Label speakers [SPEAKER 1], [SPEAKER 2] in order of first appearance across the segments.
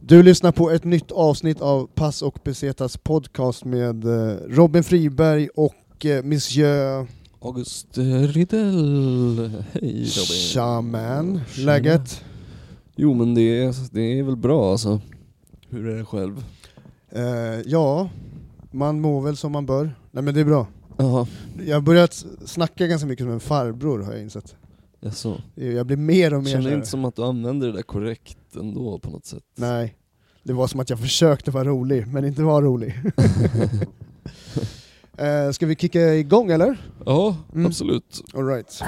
[SPEAKER 1] Du lyssnar på ett nytt avsnitt av Pass och Pesetas podcast med eh, Robin Friberg och eh, Monsieur
[SPEAKER 2] August Riddell. Hej Robin.
[SPEAKER 1] Shaman.
[SPEAKER 2] Tjena.
[SPEAKER 1] Läget?
[SPEAKER 2] Jo men det är, det är väl bra alltså. Hur är det själv?
[SPEAKER 1] Eh, ja, man mår väl som man bör. Nej men det är bra.
[SPEAKER 2] Jaha,
[SPEAKER 1] Jag har börjat snacka ganska mycket som en farbror har jag insett.
[SPEAKER 2] jaså.
[SPEAKER 1] Jag blir mer och mer så
[SPEAKER 2] alltså. Känner
[SPEAKER 1] här.
[SPEAKER 2] inte som att du använder det där korrekt ändå på något sätt.
[SPEAKER 1] Nej, det var som att jag försökte vara rolig, men inte var rolig. eh, ska vi kicka igång eller?
[SPEAKER 2] Ja,
[SPEAKER 1] Mm.
[SPEAKER 2] absolut.
[SPEAKER 1] All right.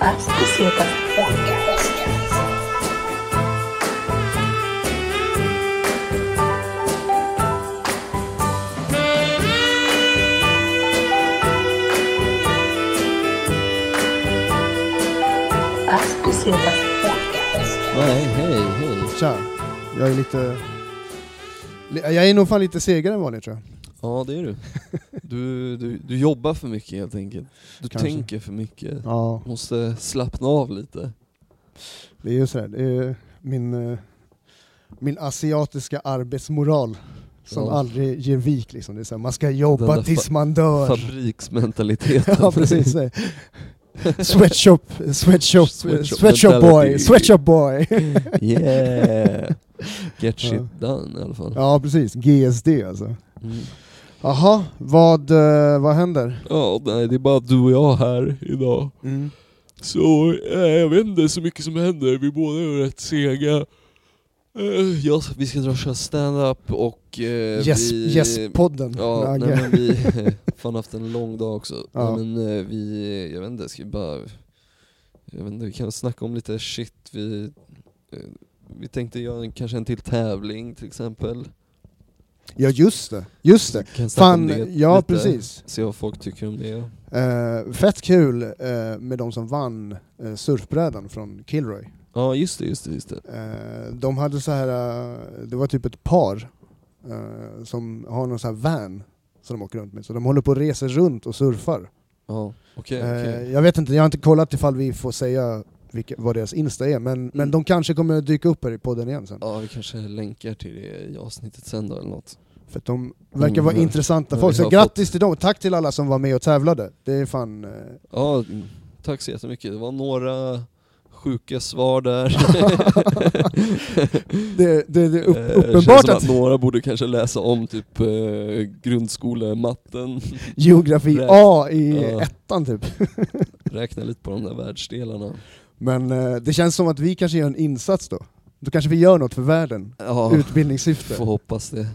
[SPEAKER 3] As Pesetas Podcast. As Pesetas Podcast.
[SPEAKER 2] Nej, hej, hej.
[SPEAKER 1] Tja, jag är lite... li- Jag är nog fan lite segare än vanligt tror jag.
[SPEAKER 2] Ja det är du. Du, du, du jobbar för mycket helt enkelt. Du
[SPEAKER 1] Kanske.
[SPEAKER 2] tänker för mycket.
[SPEAKER 1] Ja,
[SPEAKER 2] Måste slappna av lite.
[SPEAKER 1] det är ju sådär. Det är min, eh, min asiatiska arbetsmoral som
[SPEAKER 2] Ja.
[SPEAKER 1] aldrig ger vik liksom. Det är så här, man ska
[SPEAKER 2] Den
[SPEAKER 1] jobba
[SPEAKER 2] där
[SPEAKER 1] tills
[SPEAKER 2] fa-
[SPEAKER 1] man dör.
[SPEAKER 2] Fabriksmentaliteten.
[SPEAKER 1] Ja precis. eh. Sweatshop, sweatshop,
[SPEAKER 2] Sweatshop
[SPEAKER 1] sweatshop, sweatshop boy,
[SPEAKER 2] mentality.
[SPEAKER 1] sweatshop boy.
[SPEAKER 2] Yeah! Get shit
[SPEAKER 1] Ja.
[SPEAKER 2] done i alla fall.
[SPEAKER 1] Ja precis, GSD alltså.
[SPEAKER 2] Mm.
[SPEAKER 1] Jaha, vad, eh, vad händer?
[SPEAKER 2] Ja, nej det är bara du och jag här idag. Så eh, jag vet inte så mycket som händer, vi båda är rätt sega. Eh, ja, vi ska dra och köra stand-up och eh,
[SPEAKER 1] Yes,
[SPEAKER 2] vi...
[SPEAKER 1] Yes-podden.
[SPEAKER 2] Ja,
[SPEAKER 1] Agge.
[SPEAKER 2] nej, men vi fan haft en lång dag också.
[SPEAKER 1] Ja.
[SPEAKER 2] Nej, men eh, vi, jag vet inte, ska vi bara... Jag vet inte, vi kan snacka om lite shit. Vi, eh, vi tänkte göra en, kanske en till tävling till exempel.
[SPEAKER 1] Ja just det, just det.
[SPEAKER 2] Kan snacka
[SPEAKER 1] Fan,
[SPEAKER 2] om det
[SPEAKER 1] ja
[SPEAKER 2] lite.
[SPEAKER 1] precis.
[SPEAKER 2] Se vad folk tycker om det.
[SPEAKER 1] Eh, fett kul eh, med de som vann eh, surfbrädan från Kilroy.
[SPEAKER 2] Ja just det, just det, just det.
[SPEAKER 1] Eh, de hade så här, eh, det var typ ett par eh, som har någon sån här van som de åker runt med. Så de håller på och reser runt och surfar.
[SPEAKER 2] Ja, okej, okej.
[SPEAKER 1] Eh, jag vet inte, jag har inte kollat ifall vi får säga vilka, vad deras Insta är, men, men
[SPEAKER 2] Mm.
[SPEAKER 1] de kanske kommer dyka upp här i podden igen sen.
[SPEAKER 2] Ja, vi kanske länkar till det i avsnittet sen då eller något.
[SPEAKER 1] För att de verkar vara
[SPEAKER 2] Mm.
[SPEAKER 1] intressanta
[SPEAKER 2] Ja,
[SPEAKER 1] folk.
[SPEAKER 2] vi
[SPEAKER 1] Så
[SPEAKER 2] har
[SPEAKER 1] grattis till dem, tack till alla som var med och tävlade. Det är fan... eh,
[SPEAKER 2] Ja, mm, tack så jättemycket. Det var några sjuka svar där.
[SPEAKER 1] Det, det, det är
[SPEAKER 2] Eh,
[SPEAKER 1] upp,
[SPEAKER 2] känns
[SPEAKER 1] uppenbart
[SPEAKER 2] som
[SPEAKER 1] att
[SPEAKER 2] att några borde kanske läsa om typ eh, grundskolematten,
[SPEAKER 1] geografi
[SPEAKER 2] Rätt.
[SPEAKER 1] A i
[SPEAKER 2] Ja.
[SPEAKER 1] ettan typ.
[SPEAKER 2] räkna lite på de där världsdelarna.
[SPEAKER 1] Men eh, det känns som att vi kanske gör en insats då. Då kanske vi gör något för världen.
[SPEAKER 2] Ja,
[SPEAKER 1] Utbildningssyfte.
[SPEAKER 2] får hoppas det.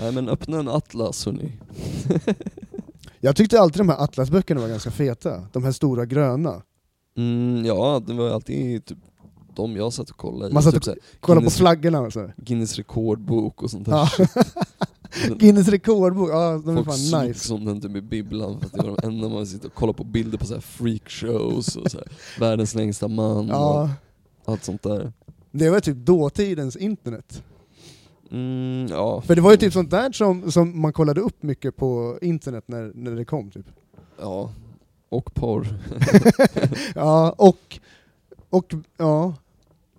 [SPEAKER 2] Nej men öppna en atlas hörni.
[SPEAKER 1] Jag tyckte alltid de här atlasböckerna var ganska feta. De här stora gröna.
[SPEAKER 2] Mm, ja, det var ju alltid typ de jag satt och kollade i.
[SPEAKER 1] Man satt
[SPEAKER 2] typ
[SPEAKER 1] och
[SPEAKER 2] så här
[SPEAKER 1] Kolla
[SPEAKER 2] Guinness-
[SPEAKER 1] på flaggorna och så. här.
[SPEAKER 2] Guinness rekordbok och sånt där.
[SPEAKER 1] Ja. Guinness rekordbok, ja de är
[SPEAKER 2] Folk
[SPEAKER 1] fan
[SPEAKER 2] slogs
[SPEAKER 1] nice.
[SPEAKER 2] om den typ i bibblan för att det var de enda man sitter och kollar på bilder på så här freakshows och så här, världens längsta man
[SPEAKER 1] Ja,
[SPEAKER 2] och allt sånt där.
[SPEAKER 1] det var typ dåtidens internet.
[SPEAKER 2] Mm, ja.
[SPEAKER 1] För det var ju typ sånt där som, som man kollade upp mycket på internet när, när det kom. Typ.
[SPEAKER 2] Ja. Och porr.
[SPEAKER 1] Ja, och, och ja,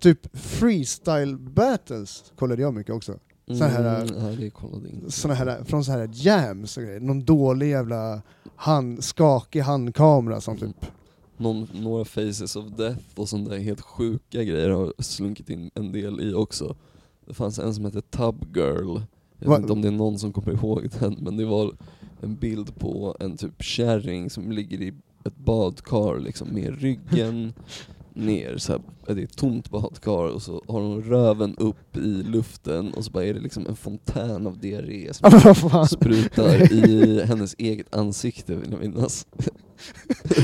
[SPEAKER 1] typ freestyle battles kollade jag mycket också. Så här-
[SPEAKER 2] Mm, nej, det kollade jag inte.
[SPEAKER 1] Såna här, från så här jams och grejer. Någon dålig jävla hand, skakig handkamera som
[SPEAKER 2] Mm.
[SPEAKER 1] typ...
[SPEAKER 2] Någon, några faces of death och sånt där helt sjuka grejer har slunkit in en del i också. Det fanns en som hette Tub Girl. Jag
[SPEAKER 1] Va-
[SPEAKER 2] vet inte om det är någon som kommer ihåg den men det var en bild på en typ kärring som ligger i ett badkar liksom med ryggen ner så här, det är ett tomt badkar och så har hon röven upp i luften och så bara är det liksom en fontän av diarré som
[SPEAKER 1] Men vad fan?
[SPEAKER 2] sprutar i hennes eget ansikte vill jag minnas.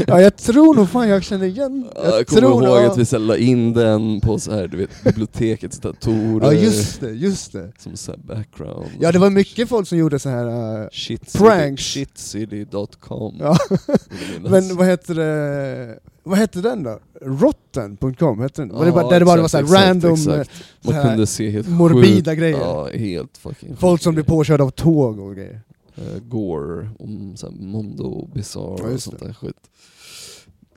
[SPEAKER 1] Ja, jag tror nog fan jag känner igen...
[SPEAKER 2] Jag, kommer
[SPEAKER 1] tror
[SPEAKER 2] ihåg
[SPEAKER 1] ja.
[SPEAKER 2] att vi så här la in den på så här, du vet, bibliotekets datorer
[SPEAKER 1] Ja just det, just det.
[SPEAKER 2] som så här background.
[SPEAKER 1] Ja det var mycket folk som gjorde så här... äh,
[SPEAKER 2] Shit
[SPEAKER 1] pranks.
[SPEAKER 2] Shitcity.com
[SPEAKER 1] Ja.
[SPEAKER 2] vill jag minnas.
[SPEAKER 1] Men vad heter det? vad hette den då? Rotten.com hette den? Var det
[SPEAKER 2] Ja,
[SPEAKER 1] bara, där det bara var
[SPEAKER 2] exakt,
[SPEAKER 1] såhär
[SPEAKER 2] exakt,
[SPEAKER 1] random,
[SPEAKER 2] exakt. Man
[SPEAKER 1] såhär
[SPEAKER 2] kunde se helt
[SPEAKER 1] morbida grejer.
[SPEAKER 2] Ja, helt fucking
[SPEAKER 1] Folk som blir
[SPEAKER 2] sjukt.
[SPEAKER 1] påkörda av tåg och grejer.
[SPEAKER 2] eh, Gore, om så här Mondo Bizarre
[SPEAKER 1] Ja,
[SPEAKER 2] och
[SPEAKER 1] just
[SPEAKER 2] sånt där skit.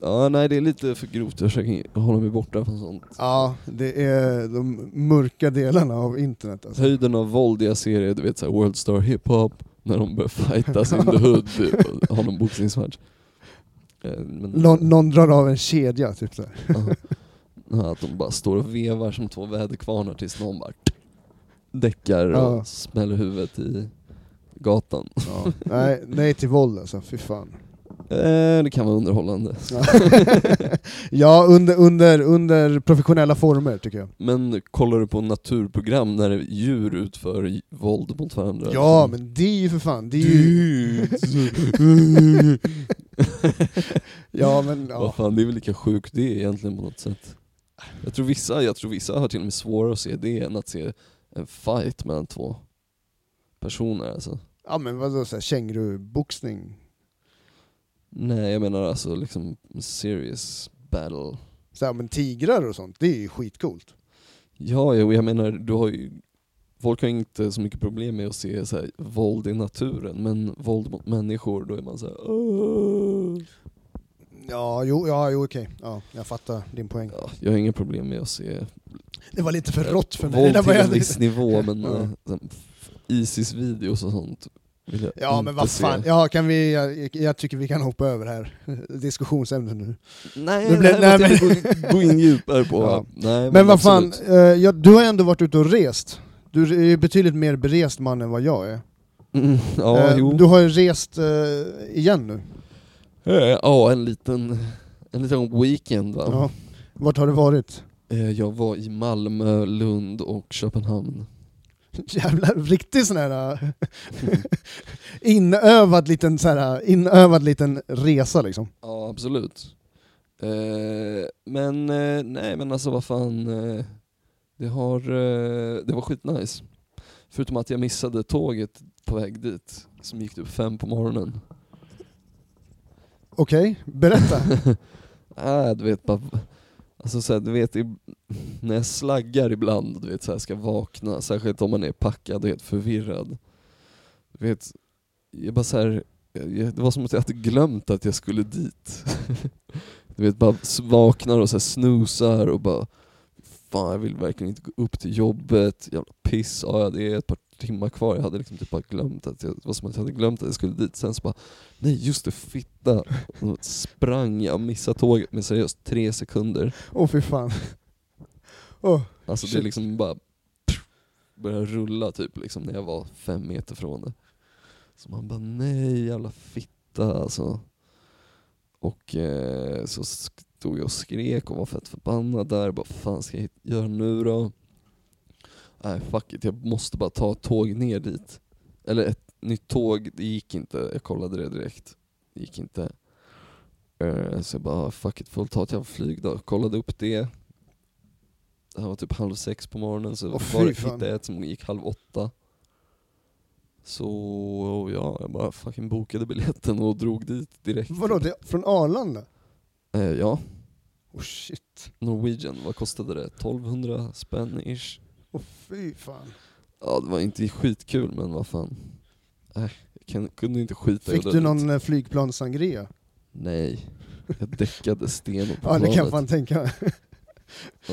[SPEAKER 2] Ja, nej det är lite för grovt, jag försöker hålla mig borta från sånt.
[SPEAKER 1] Ja, det är de mörka delarna av internet alltså.
[SPEAKER 2] Höjden av våld jag ser är du vet såhär World Star Hip Hop, när de börjar fightas in the hood, och har någon boxningsmatch. Eh, men-
[SPEAKER 1] Nå- någon drar av en kedja, typ såhär.
[SPEAKER 2] Ja. Ja, att de bara står och vevar som två väderkvarnar tills någon bara däckar och
[SPEAKER 1] Ja.
[SPEAKER 2] smäller huvudet i gatan.
[SPEAKER 1] Ja. nej, nej till våld alltså, fy fan.
[SPEAKER 2] Eh, det kan vara underhållande.
[SPEAKER 1] Ja. ja, under, under, under professionella former tycker jag.
[SPEAKER 2] Men kollar du på naturprogram när djur utför j- våld mot varandra?
[SPEAKER 1] Ja, men det är ju för fan, det är ju...
[SPEAKER 2] Dudes.
[SPEAKER 1] Ja men ja.
[SPEAKER 2] Vad fan, det är väl lika sjukt det egentligen på något sätt. Jag tror vissa, jag tror vissa har till och med svårare att se det än att se en fight mellan två personer alltså.
[SPEAKER 1] Ja men vadå såhär känguruboxning?
[SPEAKER 2] Nej, jag menar alltså liksom serious battle.
[SPEAKER 1] Såhär, men tigrar och sånt, det är ju skitcoolt.
[SPEAKER 2] Ja, jo, jag menar, du har ju... Folk har inte så mycket problem med att se så här, våld i naturen, men våld mot människor, då är man så här, "Åh."
[SPEAKER 1] Ja, jo, ja, jo okej. Ja, jag fattar din poäng.
[SPEAKER 2] ja, Jag har inga problem med att se
[SPEAKER 1] Det var lite för rått för mig. Det där
[SPEAKER 2] våld
[SPEAKER 1] var
[SPEAKER 2] till en
[SPEAKER 1] jag-
[SPEAKER 2] viss nivå, men
[SPEAKER 1] Ja.
[SPEAKER 2] eh, så här, f- Isis-videos och sånt vill jag
[SPEAKER 1] Ja men
[SPEAKER 2] inte
[SPEAKER 1] vad
[SPEAKER 2] se.
[SPEAKER 1] fan, ja, kan vi, jag, jag tycker vi kan hoppa över här diskussionsämnet nu.
[SPEAKER 2] Nej,
[SPEAKER 1] Nu blev-
[SPEAKER 2] det här
[SPEAKER 1] nej,
[SPEAKER 2] måste jag gå, gå in djupare på.
[SPEAKER 1] Ja.
[SPEAKER 2] Nej, men
[SPEAKER 1] Men vad fan,
[SPEAKER 2] absolut.
[SPEAKER 1] eh, ja, du har ändå varit ute och rest. Du är ju betydligt mer berest man än vad jag är.
[SPEAKER 2] Mm, ja,
[SPEAKER 1] Eh,
[SPEAKER 2] jo.
[SPEAKER 1] Du har ju rest eh, igen nu.
[SPEAKER 2] Eh, Ja, en liten, en liten weekend va.
[SPEAKER 1] Ja. Vart har du varit?
[SPEAKER 2] Eh, Jag var i Malmö, Lund och Köpenhamn.
[SPEAKER 1] Jävla riktigt sån här eh, inövad liten, så här, eh, inövad liten resa liksom.
[SPEAKER 2] Ja, absolut. Eh, Men eh, nej, men alltså vad fan. eh, Det, har, eh, det var skitnice. Förutom att jag missade tåget på väg dit, som gick typ fem på morgonen.
[SPEAKER 1] Okej, berätta.
[SPEAKER 2] Äh, du vet bara... Alltså så här, du vet, i- när jag slaggar ibland, du vet så här, ska vakna, särskilt om man är packad och helt förvirrad. Du vet, jag bara så här, jag, jag- det var som att jag hade glömt att jag skulle dit. du vet, bara s- vaknar och så här snusar och bara Fan jag vill verkligen inte gå upp till jobbet, jävla piss, ja ja, det är ett par timmar kvar, jag hade liksom typ bara glömt att jag, det var som att jag hade glömt att jag skulle dit, sen så bara Nej just det, fitta! Och sprang, jag missade tåget med seriöst tre sekunder.
[SPEAKER 1] Åh fy fan. Åh,
[SPEAKER 2] Alltså det
[SPEAKER 1] Shit.
[SPEAKER 2] liksom bara började rulla typ liksom när jag var fem meter från det. Så man bara nej jävla fitta alltså. Och eh, så stod jag och skrek och var fett förbannad där. Bara fan ska jag hit- göra nu då? Nej fuck it, jag måste bara ta ett tåg ner dit. Eller ett nytt tåg, det gick inte. Jag kollade det direkt. Det gick inte. Eh, så jag bara fuck it, får väl ta ett jävla flyg då. Kollade upp det. Det här var typ halv sex på morgonen så
[SPEAKER 1] Åh, fy
[SPEAKER 2] var,
[SPEAKER 1] fan.
[SPEAKER 2] hittade jag ett som gick halv åtta. Så ja, jag bara fucking bokade biljetten och drog dit direkt.
[SPEAKER 1] vadå, det, från Arlanda?
[SPEAKER 2] Eh, ja,
[SPEAKER 1] Åh shit.
[SPEAKER 2] Norwegian, vad kostade det? 1200 spänn ish?
[SPEAKER 1] Åh fy fan.
[SPEAKER 2] Ja, det var inte skitkul men vad fan. Äh, jag kan, kunde inte skita i
[SPEAKER 1] Fick
[SPEAKER 2] det
[SPEAKER 1] du
[SPEAKER 2] där
[SPEAKER 1] någon
[SPEAKER 2] lite.
[SPEAKER 1] eh, flygplanssangria?
[SPEAKER 2] Nej, jag däckade sten på
[SPEAKER 1] Ja det kan jag
[SPEAKER 2] planet
[SPEAKER 1] fan tänka mig.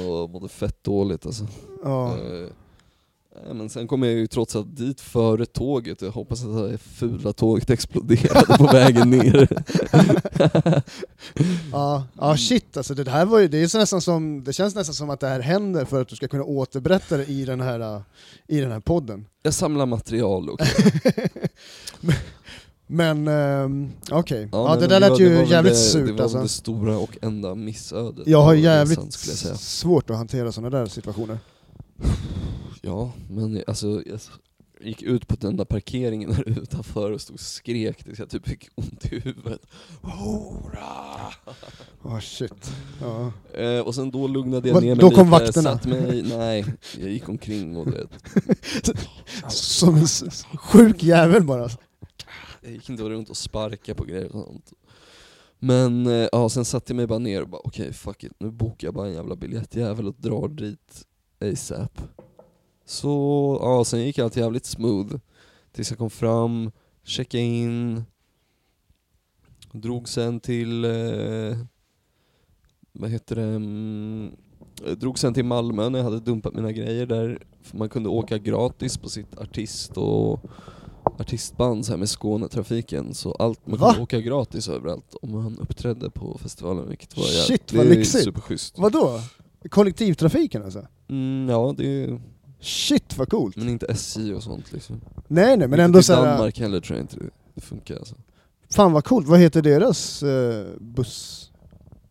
[SPEAKER 2] och mådde fett dåligt alltså.
[SPEAKER 1] Ja.
[SPEAKER 2] Eh, nej, men sen kom jag ju trots allt dit före tåget, jag hoppas att det här fula tåget exploderade på vägen ner. Mm.
[SPEAKER 1] Ja, ja shit alltså det här var ju, det är så nästan som, det känns nästan som att det här händer för att du ska kunna återberätta det i den här, uh, i den här podden.
[SPEAKER 2] Jag samlar material och
[SPEAKER 1] Men um, okej, ja,
[SPEAKER 2] nej,
[SPEAKER 1] det
[SPEAKER 2] men
[SPEAKER 1] där
[SPEAKER 2] var-
[SPEAKER 1] lät ju
[SPEAKER 2] var väl
[SPEAKER 1] jävligt
[SPEAKER 2] det, Det
[SPEAKER 1] surt
[SPEAKER 2] var
[SPEAKER 1] alltså.
[SPEAKER 2] väl det stora och enda missödet.
[SPEAKER 1] Jag har
[SPEAKER 2] på
[SPEAKER 1] jävligt
[SPEAKER 2] resan, skulle jag säga.
[SPEAKER 1] svårt att hantera sådana där situationer.
[SPEAKER 2] Ja, men jag- alltså jag s- gick ut på den där parkeringen där utanför och stod och skrek tills jag typ fick ont i huvudet. Hurra!
[SPEAKER 1] Ja shit. Ja.
[SPEAKER 2] Eh, och sen då lugnade jag
[SPEAKER 1] Vad-
[SPEAKER 2] ner mig
[SPEAKER 1] då kom
[SPEAKER 2] lite,
[SPEAKER 1] vakterna?
[SPEAKER 2] satt mig, nej, jag gick omkring och du vet,
[SPEAKER 1] Som en s- sjuk jävel bara.
[SPEAKER 2] jag gick inte runt och sparkade på grejer och sånt. Men eh, ja, sen satte jag mig bara ner och bara okej fuck it, nu bokar jag bara en jävla biljettjävel och drar dit ASAP. Så ja, sen gick allt jävligt smooth. Tills jag kom fram, checkade in, drog sen till, eh, vad heter det, mm, jag drog sen till Malmö när jag hade dumpat mina grejer där. För man kunde åka gratis på sitt artist och artistband så här med Skånetrafiken. Så allt, man
[SPEAKER 1] Va?
[SPEAKER 2] kunde åka gratis överallt om man uppträdde på festivalen vilket var
[SPEAKER 1] Shit,
[SPEAKER 2] jävligt-
[SPEAKER 1] vad
[SPEAKER 2] det är
[SPEAKER 1] lyxigt.
[SPEAKER 2] Superschysst.
[SPEAKER 1] Vadå? Kollektivtrafiken alltså?
[SPEAKER 2] Mm, ja, det är,
[SPEAKER 1] Shit vad coolt!
[SPEAKER 2] men inte SJ och sånt liksom.
[SPEAKER 1] Nej nej men
[SPEAKER 2] inte
[SPEAKER 1] ändå
[SPEAKER 2] till
[SPEAKER 1] såhär,
[SPEAKER 2] Danmark heller tror jag inte det, det funkar alltså.
[SPEAKER 1] fan vad coolt, vad heter deras eh, buss?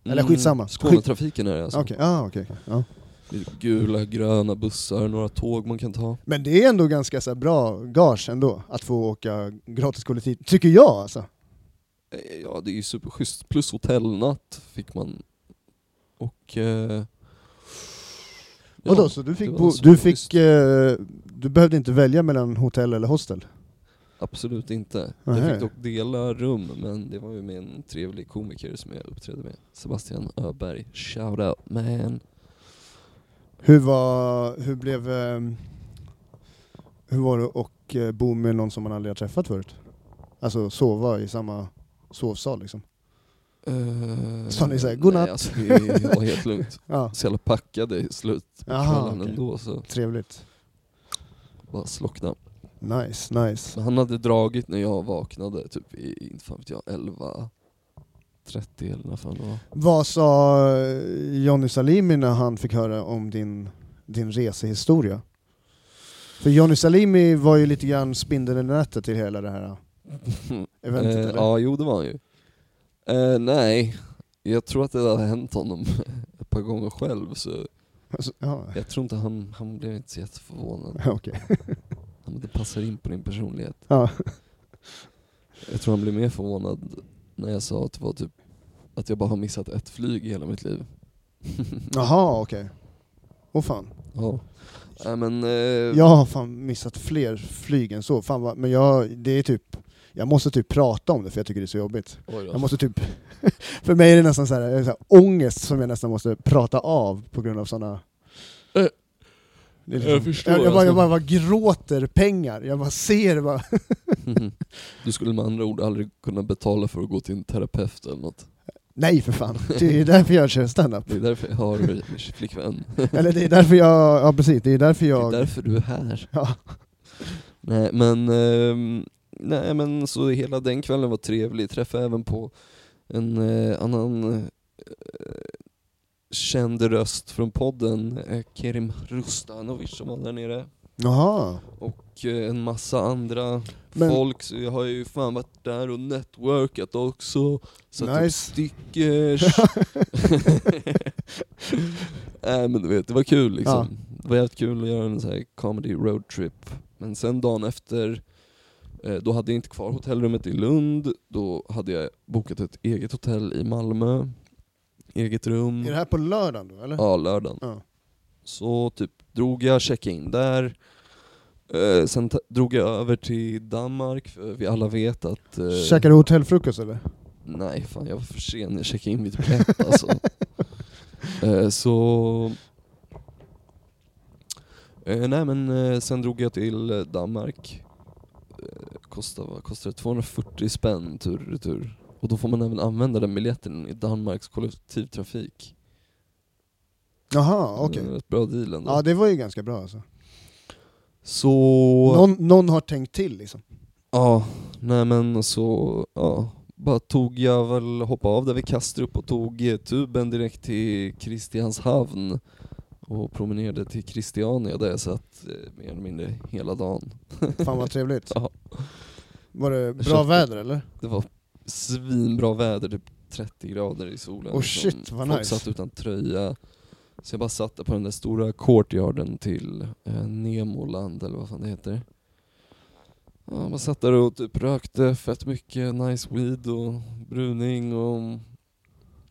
[SPEAKER 1] Eller skitsamma.
[SPEAKER 2] Skånetrafiken Mm. är det alltså.
[SPEAKER 1] Okej, ah, okej. okej. ja.
[SPEAKER 2] Det är Gula, gröna bussar, några tåg man kan ta.
[SPEAKER 1] Men det är ändå ganska så här, bra gage ändå, att få åka gratis kollektiv, tycker jag alltså.
[SPEAKER 2] Eh, Ja, det är ju superschysst. Plus hotellnatt fick man. Och... Eh, ja,
[SPEAKER 1] Vadå, så du
[SPEAKER 2] det
[SPEAKER 1] fick,
[SPEAKER 2] var
[SPEAKER 1] bo, du,
[SPEAKER 2] superschysst.
[SPEAKER 1] fick eh, du behövde inte välja mellan hotell eller hostel?
[SPEAKER 2] Absolut inte.
[SPEAKER 1] Nähä.
[SPEAKER 2] Jag fick dock dela rum, men det var ju med en trevlig komiker som jag uppträdde med. Sebastian Öberg. Shout out man.
[SPEAKER 1] Hur var, hur blev, eh, hur var det att eh, bo med någon som man aldrig har träffat förut? Alltså sova i samma sovsal liksom?
[SPEAKER 2] Eh,
[SPEAKER 1] Sa ni så här, "Godnatt"?
[SPEAKER 2] Nej, alltså, det det var helt lugnt.
[SPEAKER 1] Ja,
[SPEAKER 2] Så jävla packade i slutet på
[SPEAKER 1] Aha,
[SPEAKER 2] kvällen
[SPEAKER 1] okej.
[SPEAKER 2] ändå, så
[SPEAKER 1] trevligt.
[SPEAKER 2] bara slockna.
[SPEAKER 1] Nice, nice.
[SPEAKER 2] Men han hade dragit när jag vaknade, typ i, inte fan vet jag, 11, 30 eller när fan det var.
[SPEAKER 1] Vad sa eh, Johnny Salimi när han fick höra om din, din resehistoria? För Johnny Salimi var ju lite grann spindeln i nätet till hela det här eventet
[SPEAKER 2] Eh,
[SPEAKER 1] eller?
[SPEAKER 2] ja, jo det var han ju. Eh, nej, jag tror att det har hänt honom ett par gånger själv, så
[SPEAKER 1] Alltså, ja.
[SPEAKER 2] jag tror inte han, han blev inte så jätteförvånad.
[SPEAKER 1] Okej.
[SPEAKER 2] Han, bara, det passar in på din personlighet.
[SPEAKER 1] Ja.
[SPEAKER 2] Jag tror han blev mer förvånad när jag sa att det var typ, att jag bara har missat ett flyg i hela mitt liv.
[SPEAKER 1] Jaha, okej. Åh fan.
[SPEAKER 2] ja. Nej men, eh,
[SPEAKER 1] Jag har fan missat fler flyg än så. Fan vad, men jag, det är typ, jag måste typ prata om det för jag tycker det är så jobbigt.
[SPEAKER 2] oj då.
[SPEAKER 1] Jag måste typ, för mig är det nästan så här, jag är så här, ångest som jag nästan måste prata av på grund av sådana...
[SPEAKER 2] Eh,
[SPEAKER 1] Det är liksom-
[SPEAKER 2] jag förstår,
[SPEAKER 1] jag, jag, bara, jag
[SPEAKER 2] alltså.
[SPEAKER 1] bara, bara gråter pengar, jag bara ser bara...
[SPEAKER 2] Mhm. Du skulle med andra ord aldrig kunna betala för att gå till en terapeut eller något.
[SPEAKER 1] Nej för fan, det är därför jag kör standup.
[SPEAKER 2] Det är därför jag har flickvän.
[SPEAKER 1] Eller det är därför jag, ja precis, det är därför
[SPEAKER 2] Det
[SPEAKER 1] jag...
[SPEAKER 2] är därför du är här.
[SPEAKER 1] Ja.
[SPEAKER 2] Nej men, ehm, nej men så hela den kvällen var trevlig. Träffade även på en eh, annan eh, känd röst från podden, eh, Kerim Rustanovic som var där nere.
[SPEAKER 1] Jaha.
[SPEAKER 2] Och eh, en massa andra
[SPEAKER 1] Men-
[SPEAKER 2] folk, så jag har ju fan varit där och networkat också. Satt upp
[SPEAKER 1] Nice.
[SPEAKER 2] stickers. Nej men du vet, det var kul liksom. Det var jävligt kul att göra en sån här comedy roadtrip. Men sen dagen efter, eh, då hade jag inte kvar hotellrummet i Lund. Då hade jag bokat ett eget hotell i Malmö. Eget rum.
[SPEAKER 1] Är det här på lördagen då eller?
[SPEAKER 2] Mm. Ja, lördagen.
[SPEAKER 1] Ja.
[SPEAKER 2] Så typ drog jag, checkade in där. Eh, sen ta- drog jag över till Danmark, för vi alla vet att... eh,
[SPEAKER 1] Käkar du hotellfrukost eller?
[SPEAKER 2] Nej, fan jag var för sen. Jag checkade in vid typ ett alltså. Eh, så... Eh, nej men eh, sen drog jag till eh, Danmark. Eh, kostar, vad kostar det? 240 spänn tur och retur. Och då får man även använda den biljetten i Danmarks kollektivtrafik.
[SPEAKER 1] Jaha, okej.
[SPEAKER 2] Det är en Rätt bra deal ändå.
[SPEAKER 1] Ja det var ju ganska bra alltså.
[SPEAKER 2] Så...
[SPEAKER 1] Någon, någon har tänkt till liksom.
[SPEAKER 2] Ja, nej men så, ja. Bara tog jag väl, hoppade av där vid Kastrup och tog eh, tuben direkt till Kristianshavn och promenerade till Christiania där jag satt eh, mer eller mindre hela dagen.
[SPEAKER 1] Fan vad trevligt.
[SPEAKER 2] Ja,
[SPEAKER 1] Var det bra
[SPEAKER 2] Köpte-
[SPEAKER 1] väder eller?
[SPEAKER 2] det var svinbra väder, typ 30 grader i solen. Liksom.
[SPEAKER 1] Oh, shit, vad
[SPEAKER 2] Folk
[SPEAKER 1] nice.
[SPEAKER 2] satt utan tröja. Så jag bara satt där på den där stora courtyarden till eh, Nemoland eller vad fan det heter. Ja, man satt där och typ rökte fett mycket nice weed och bruning och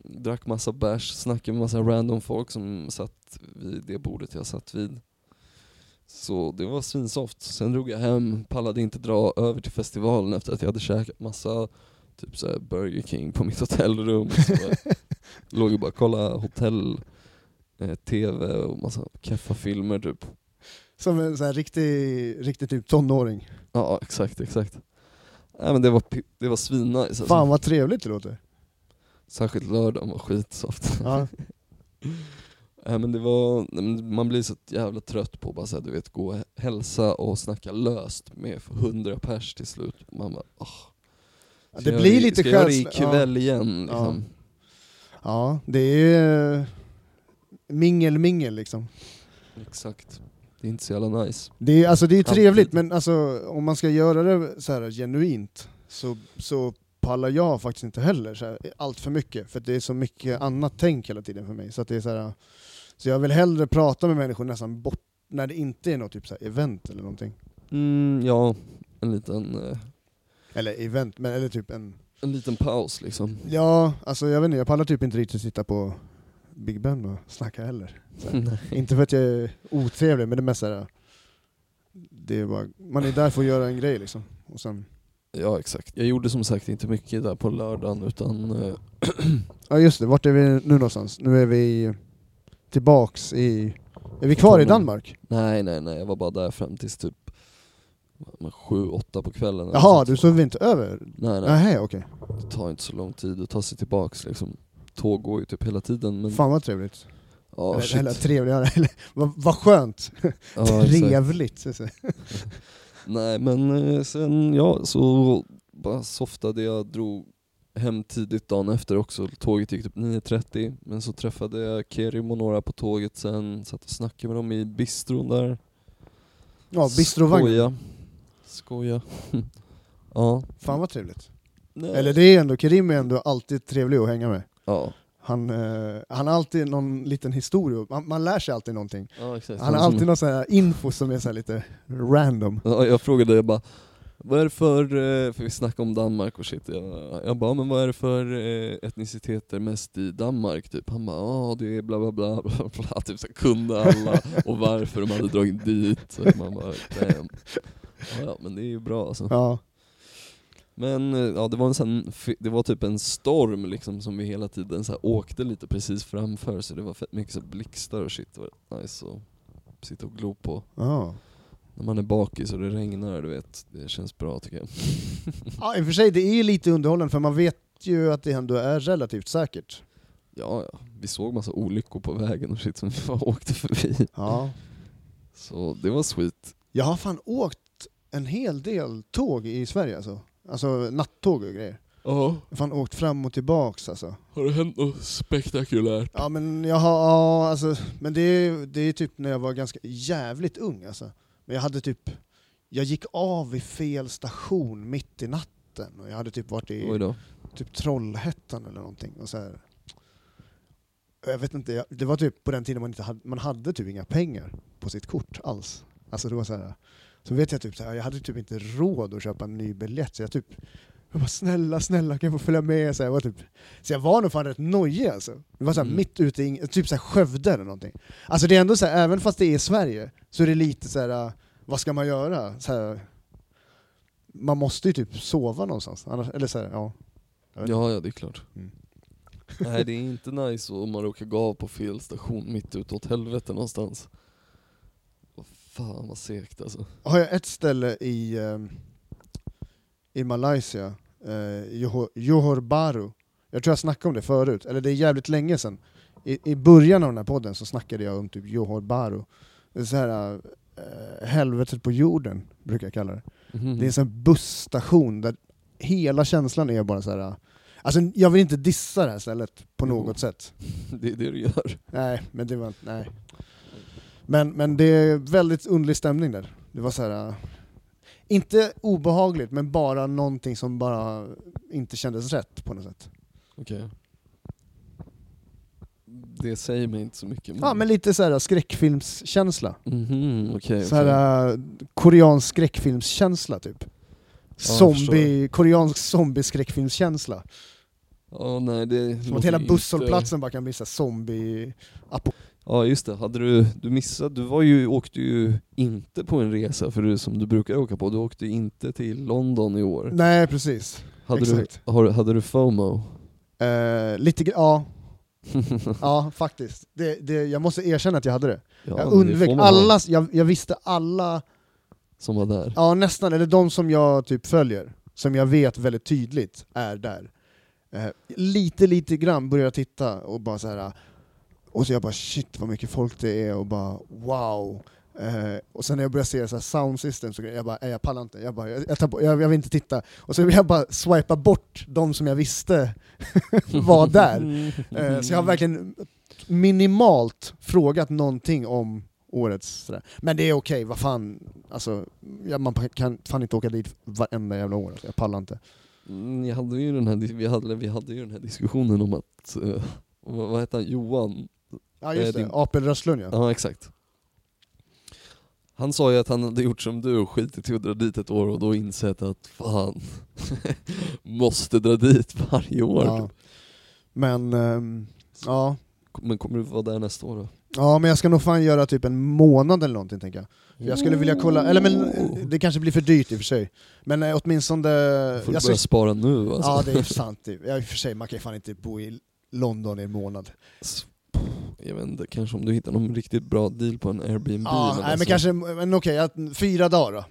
[SPEAKER 2] drack massa bärs, snackade med massa random folk som satt vid det bordet jag satt vid. Så det var svinsoft. Sen drog jag hem, pallade inte dra över till festivalen efter att jag hade käkat massa typ så här Burger King på mitt hotellrum. Så bara- låg och bara kolla hotell, eh, TV och massa keffa filmer typ.
[SPEAKER 1] Som en sån här riktig, riktig typ tonåring.
[SPEAKER 2] Ja exakt, exakt. Nej men det var, pi- det var svinnice alltså.
[SPEAKER 1] Fan vad trevligt det låter.
[SPEAKER 2] Särskilt lördagen var skitsoft.
[SPEAKER 1] Ja.
[SPEAKER 2] Nej, men det var, nej, men man blir så jävla trött på att bara så här, du vet, gå och hälsa och snacka löst med för hundra pers till slut. Man bara, åh,
[SPEAKER 1] Ja, Det
[SPEAKER 2] ska jag
[SPEAKER 1] blir
[SPEAKER 2] göra
[SPEAKER 1] lite
[SPEAKER 2] Ska jag göra det
[SPEAKER 1] skönt. Ja.
[SPEAKER 2] ikväll igen? Liksom.
[SPEAKER 1] ja, det är ju mingel-mingel liksom.
[SPEAKER 2] Exakt. Det är inte så jävla nice.
[SPEAKER 1] Det är, alltså, det är ju
[SPEAKER 2] Alltid.
[SPEAKER 1] trevligt, men alltså, om man ska göra det så här genuint så, så pallar jag faktiskt inte heller så här, allt för mycket. För att det är så mycket annat tänk hela tiden för mig. Så, att det är så, här, så jag vill hellre prata med människor nästan bort när det inte är något typ så här event eller någonting.
[SPEAKER 2] Mm, ja, en liten, eh,
[SPEAKER 1] Eller event, men eller typ en...
[SPEAKER 2] en liten paus liksom.
[SPEAKER 1] Ja, alltså jag vet inte, jag pallar typ inte riktigt sitta på Big Ben och snacka heller. Så här.
[SPEAKER 2] Nej.
[SPEAKER 1] inte för att jag är otrevlig, men det är mest så här, det är bara, man är där för att göra en grej liksom. Och sen,
[SPEAKER 2] ja exakt. Jag gjorde som sagt inte mycket där på lördagen utan eh,
[SPEAKER 1] Ja just det, vart är vi nu någonstans? Nu är vi tillbaks i... Är vi kvar i
[SPEAKER 2] Tonåren.
[SPEAKER 1] Danmark?
[SPEAKER 2] nej nej nej, jag var bara där fram tills typ vad- vad, sju, åtta på kvällen. eller
[SPEAKER 1] Jaha,
[SPEAKER 2] något
[SPEAKER 1] du
[SPEAKER 2] sånt.
[SPEAKER 1] sov inte över?
[SPEAKER 2] Nej nej,
[SPEAKER 1] Nej, okej.
[SPEAKER 2] det tar inte så lång tid att ta sig tillbaks liksom. Tåg går ju typ hela tiden men...
[SPEAKER 1] Fan vad trevligt.
[SPEAKER 2] ja,
[SPEAKER 1] eller,
[SPEAKER 2] shit.
[SPEAKER 1] eller trevligare, eller vad, vad skönt.
[SPEAKER 2] Ja, exakt.
[SPEAKER 1] Trevligt. så att säga.
[SPEAKER 2] Nej men eh, sen, ja så bara softade jag, drog hem tidigt dagen efter också. Tåget gick typ 9.30 men så träffade jag Kerim och några på tåget sen, satt och snackade med dem i bistron där.
[SPEAKER 1] Ja, bistrovagn.
[SPEAKER 2] Skoja. Skoja. ja.
[SPEAKER 1] Fan vad trevligt.
[SPEAKER 2] Nej.
[SPEAKER 1] Eller det är ändå, Kerim är ändå alltid trevlig att hänga med.
[SPEAKER 2] Ja.
[SPEAKER 1] Han, eh, han har alltid någon liten historia, man, man lär sig alltid någonting.
[SPEAKER 2] ja, exakt.
[SPEAKER 1] Han har alltid någon sån här info som är så här lite random.
[SPEAKER 2] Ja, jag frågade jag bara, vad är det för, eh, för vi snackade om Danmark och shit, jag, jag bara, men vad är det för eh, etniciteter mest i Danmark? Typ. Han bara, ja det är bla bla bla, bla, bla. Typ, så kunde alla och varför de hade dragit dit. Så man bara, damn. Ja, ja, men det är ju bra alltså.
[SPEAKER 1] Ja.
[SPEAKER 2] Men eh, ja, det var, en sån, fi- det var typ en storm liksom som vi hela tiden så här, åkte lite precis framför så det var fett mycket så här blixtar och shit. Det var rätt nice att sitta och glo på.
[SPEAKER 1] ja.
[SPEAKER 2] När man är bakis och det regnar, du vet. Det känns bra tycker jag.
[SPEAKER 1] Ja, i och för sig, det är lite underhållande för man vet ju att det ändå är relativt säkert.
[SPEAKER 2] Ja, ja. Vi såg massa olyckor på vägen och shit som vi bara åkte förbi.
[SPEAKER 1] Ja.
[SPEAKER 2] Så det var sweet.
[SPEAKER 1] Jag har fan åkt en hel del tåg i Sverige alltså. Alltså nattåg och grejer.
[SPEAKER 2] Ja,
[SPEAKER 1] Jag har fan åkt fram och tillbaks alltså.
[SPEAKER 2] har det hänt något spektakulärt?
[SPEAKER 1] Ja men jag har, ja, alltså, men det är, det är typ när jag var ganska jävligt ung alltså. Men jag hade typ, jag gick av vid fel station mitt i natten och jag hade typ varit
[SPEAKER 2] Oj
[SPEAKER 1] i
[SPEAKER 2] då.
[SPEAKER 1] typ Trollhättan eller någonting och så här. Och Jag vet inte, jag- det var typ på den tiden man inte hade, man hade typ inga pengar på sitt kort alls. Alltså det var så här. Så vet jag typ så här, jag hade typ inte råd att köpa en ny biljett så jag typ jag bara snälla, snälla kan jag få följa med? Så, här, jag var typ, så jag var nog fan rätt nojig alltså. Det var så här,
[SPEAKER 2] Mm.
[SPEAKER 1] mitt ute i, ing- typ så här Skövde eller någonting. Alltså det är ändå så här, även fast det är Sverige så är det lite så här, vad ska man göra? Så här, man måste ju typ sova någonstans. Annars, eller så här, ja. Jag vet
[SPEAKER 2] Ja, ja det är klart.
[SPEAKER 1] Mm.
[SPEAKER 2] Nej det är inte nice om man råkar gå av på fel station mitt ute åt helvete någonstans. Vad fan vad segt alltså.
[SPEAKER 1] har jag ett ställe i, eh, i Malaysia, eh, Johor, Johor Bahru. Jag tror jag snackade om det förut, eller det är jävligt länge sedan. I, i början av den här podden så snackade jag om typ Johor Bahru. Det är så här, eh, helvetet på jorden, brukar jag kalla det.
[SPEAKER 2] Mhm.
[SPEAKER 1] Det är en sån här busstation där hela känslan är bara så här. eh, Alltså jag vill inte dissa det här stället på
[SPEAKER 2] Jo.
[SPEAKER 1] något sätt.
[SPEAKER 2] det är det du gör.
[SPEAKER 1] Nej, men det var inte, nej. Men, men det är väldigt underlig stämning där. Det var så här. äh, Inte obehagligt, men bara någonting som bara inte kändes rätt på något sätt.
[SPEAKER 2] Okej. Det säger mig inte så mycket.
[SPEAKER 1] Ja, men lite så här skräckfilmskänsla.
[SPEAKER 2] Mhm, okej.
[SPEAKER 1] Så här, äh, koreansk skräckfilmskänsla typ.
[SPEAKER 2] jag förstår.
[SPEAKER 1] Zombie, koreansk zombie-skräckfilmskänsla.
[SPEAKER 2] Ja, nej, det
[SPEAKER 1] Som att hela busshållplatsen bara kan bli så här zombie...
[SPEAKER 2] Ja just det, hade du, du missat, du var ju, åkte ju inte på en resa för du, som du brukar åka på, du åkte inte till London i år.
[SPEAKER 1] Nej, precis.
[SPEAKER 2] Hade,
[SPEAKER 1] Exakt.
[SPEAKER 2] Du, har, hade du fomo?
[SPEAKER 1] Eh, lite gr- ja. ja, faktiskt. Det, det, jag måste erkänna att jag hade det.
[SPEAKER 2] Ja, men
[SPEAKER 1] jag
[SPEAKER 2] det
[SPEAKER 1] undvek
[SPEAKER 2] får man ha,
[SPEAKER 1] alla, jag, jag visste alla,
[SPEAKER 2] som var där.
[SPEAKER 1] ja nästan, eller de som jag typ följer, som jag vet väldigt tydligt är där. Eh, lite, lite grann började jag titta och bara så här. och så jag bara shit vad mycket folk det är och bara wow. Eh, och sen när jag började se så här sound system så jag bara, nej jag pallar inte, jag, bara, jag, jag, tar på, jag, jag vill inte titta. Och så vill jag bara swipa bort de som jag visste var där. Eh,
[SPEAKER 2] Mm.
[SPEAKER 1] Så jag har verkligen minimalt frågat någonting om årets sådär. Men det är okej, vad fan. Alltså, ja, man kan fan inte åka dit varenda jävla år, alltså, jag pallar inte.
[SPEAKER 2] Mm, Jag hade ju den här, dis- vi, hade, vi hade ju den här diskussionen om att, eh, vad, vad hette han, Johan?
[SPEAKER 1] Ja
[SPEAKER 2] Eh,
[SPEAKER 1] just det,
[SPEAKER 2] din-
[SPEAKER 1] Apelrösslund ja.
[SPEAKER 2] Ja, exakt. Han sa ju att han hade gjort som du och skitit i att dra dit ett år och då insett att fan, måste dra dit varje år.
[SPEAKER 1] ja. Men, ehm, ja.
[SPEAKER 2] Men kommer du vara där nästa år då?
[SPEAKER 1] ja, men jag ska nog fan göra typ en månad eller någonting tänker jag. För jag skulle vilja kolla, eller
[SPEAKER 2] Oh.
[SPEAKER 1] men eh, det kanske blir för dyrt i och för sig. Men eh, åtminstone...
[SPEAKER 2] Får du
[SPEAKER 1] jag ska-
[SPEAKER 2] börja spara nu alltså.
[SPEAKER 1] ja det är sant, det- ja, i och för sig man kan ju fan inte bo i London i en månad.
[SPEAKER 2] Jag vet inte, kanske om du hittar någon riktigt bra deal på en Airbnb.
[SPEAKER 1] Ja, nej,
[SPEAKER 2] alltså,
[SPEAKER 1] men kanske, men okej, att- fyra dagar då.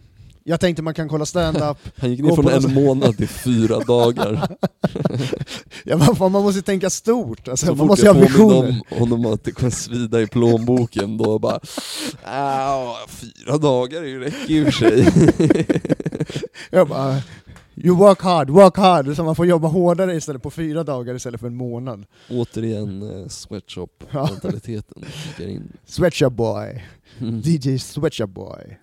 [SPEAKER 1] Jag tänkte man kan kolla stand-up.
[SPEAKER 2] Han gick
[SPEAKER 1] gå
[SPEAKER 2] ner från
[SPEAKER 1] på
[SPEAKER 2] en
[SPEAKER 1] något-
[SPEAKER 2] månad till fyra dagar.
[SPEAKER 1] ja, man, fan, man måste tänka stort, alltså,
[SPEAKER 2] Så
[SPEAKER 1] man
[SPEAKER 2] fort
[SPEAKER 1] måste ju
[SPEAKER 2] jag
[SPEAKER 1] ha visioner.
[SPEAKER 2] påminner om honom att det kommer svida i plånboken, då bara... "Ah, Fyra dagar är ju- räcker ju i och för sig.
[SPEAKER 1] Jag bara, you work hard, work hard, så man får jobba hårdare istället på fyra dagar istället för en månad.
[SPEAKER 2] Återigen eh, sweatshop-mentaliteten kickar in.
[SPEAKER 1] Sweatshop boy,
[SPEAKER 2] Mm.
[SPEAKER 1] DJ Sweatshop boy.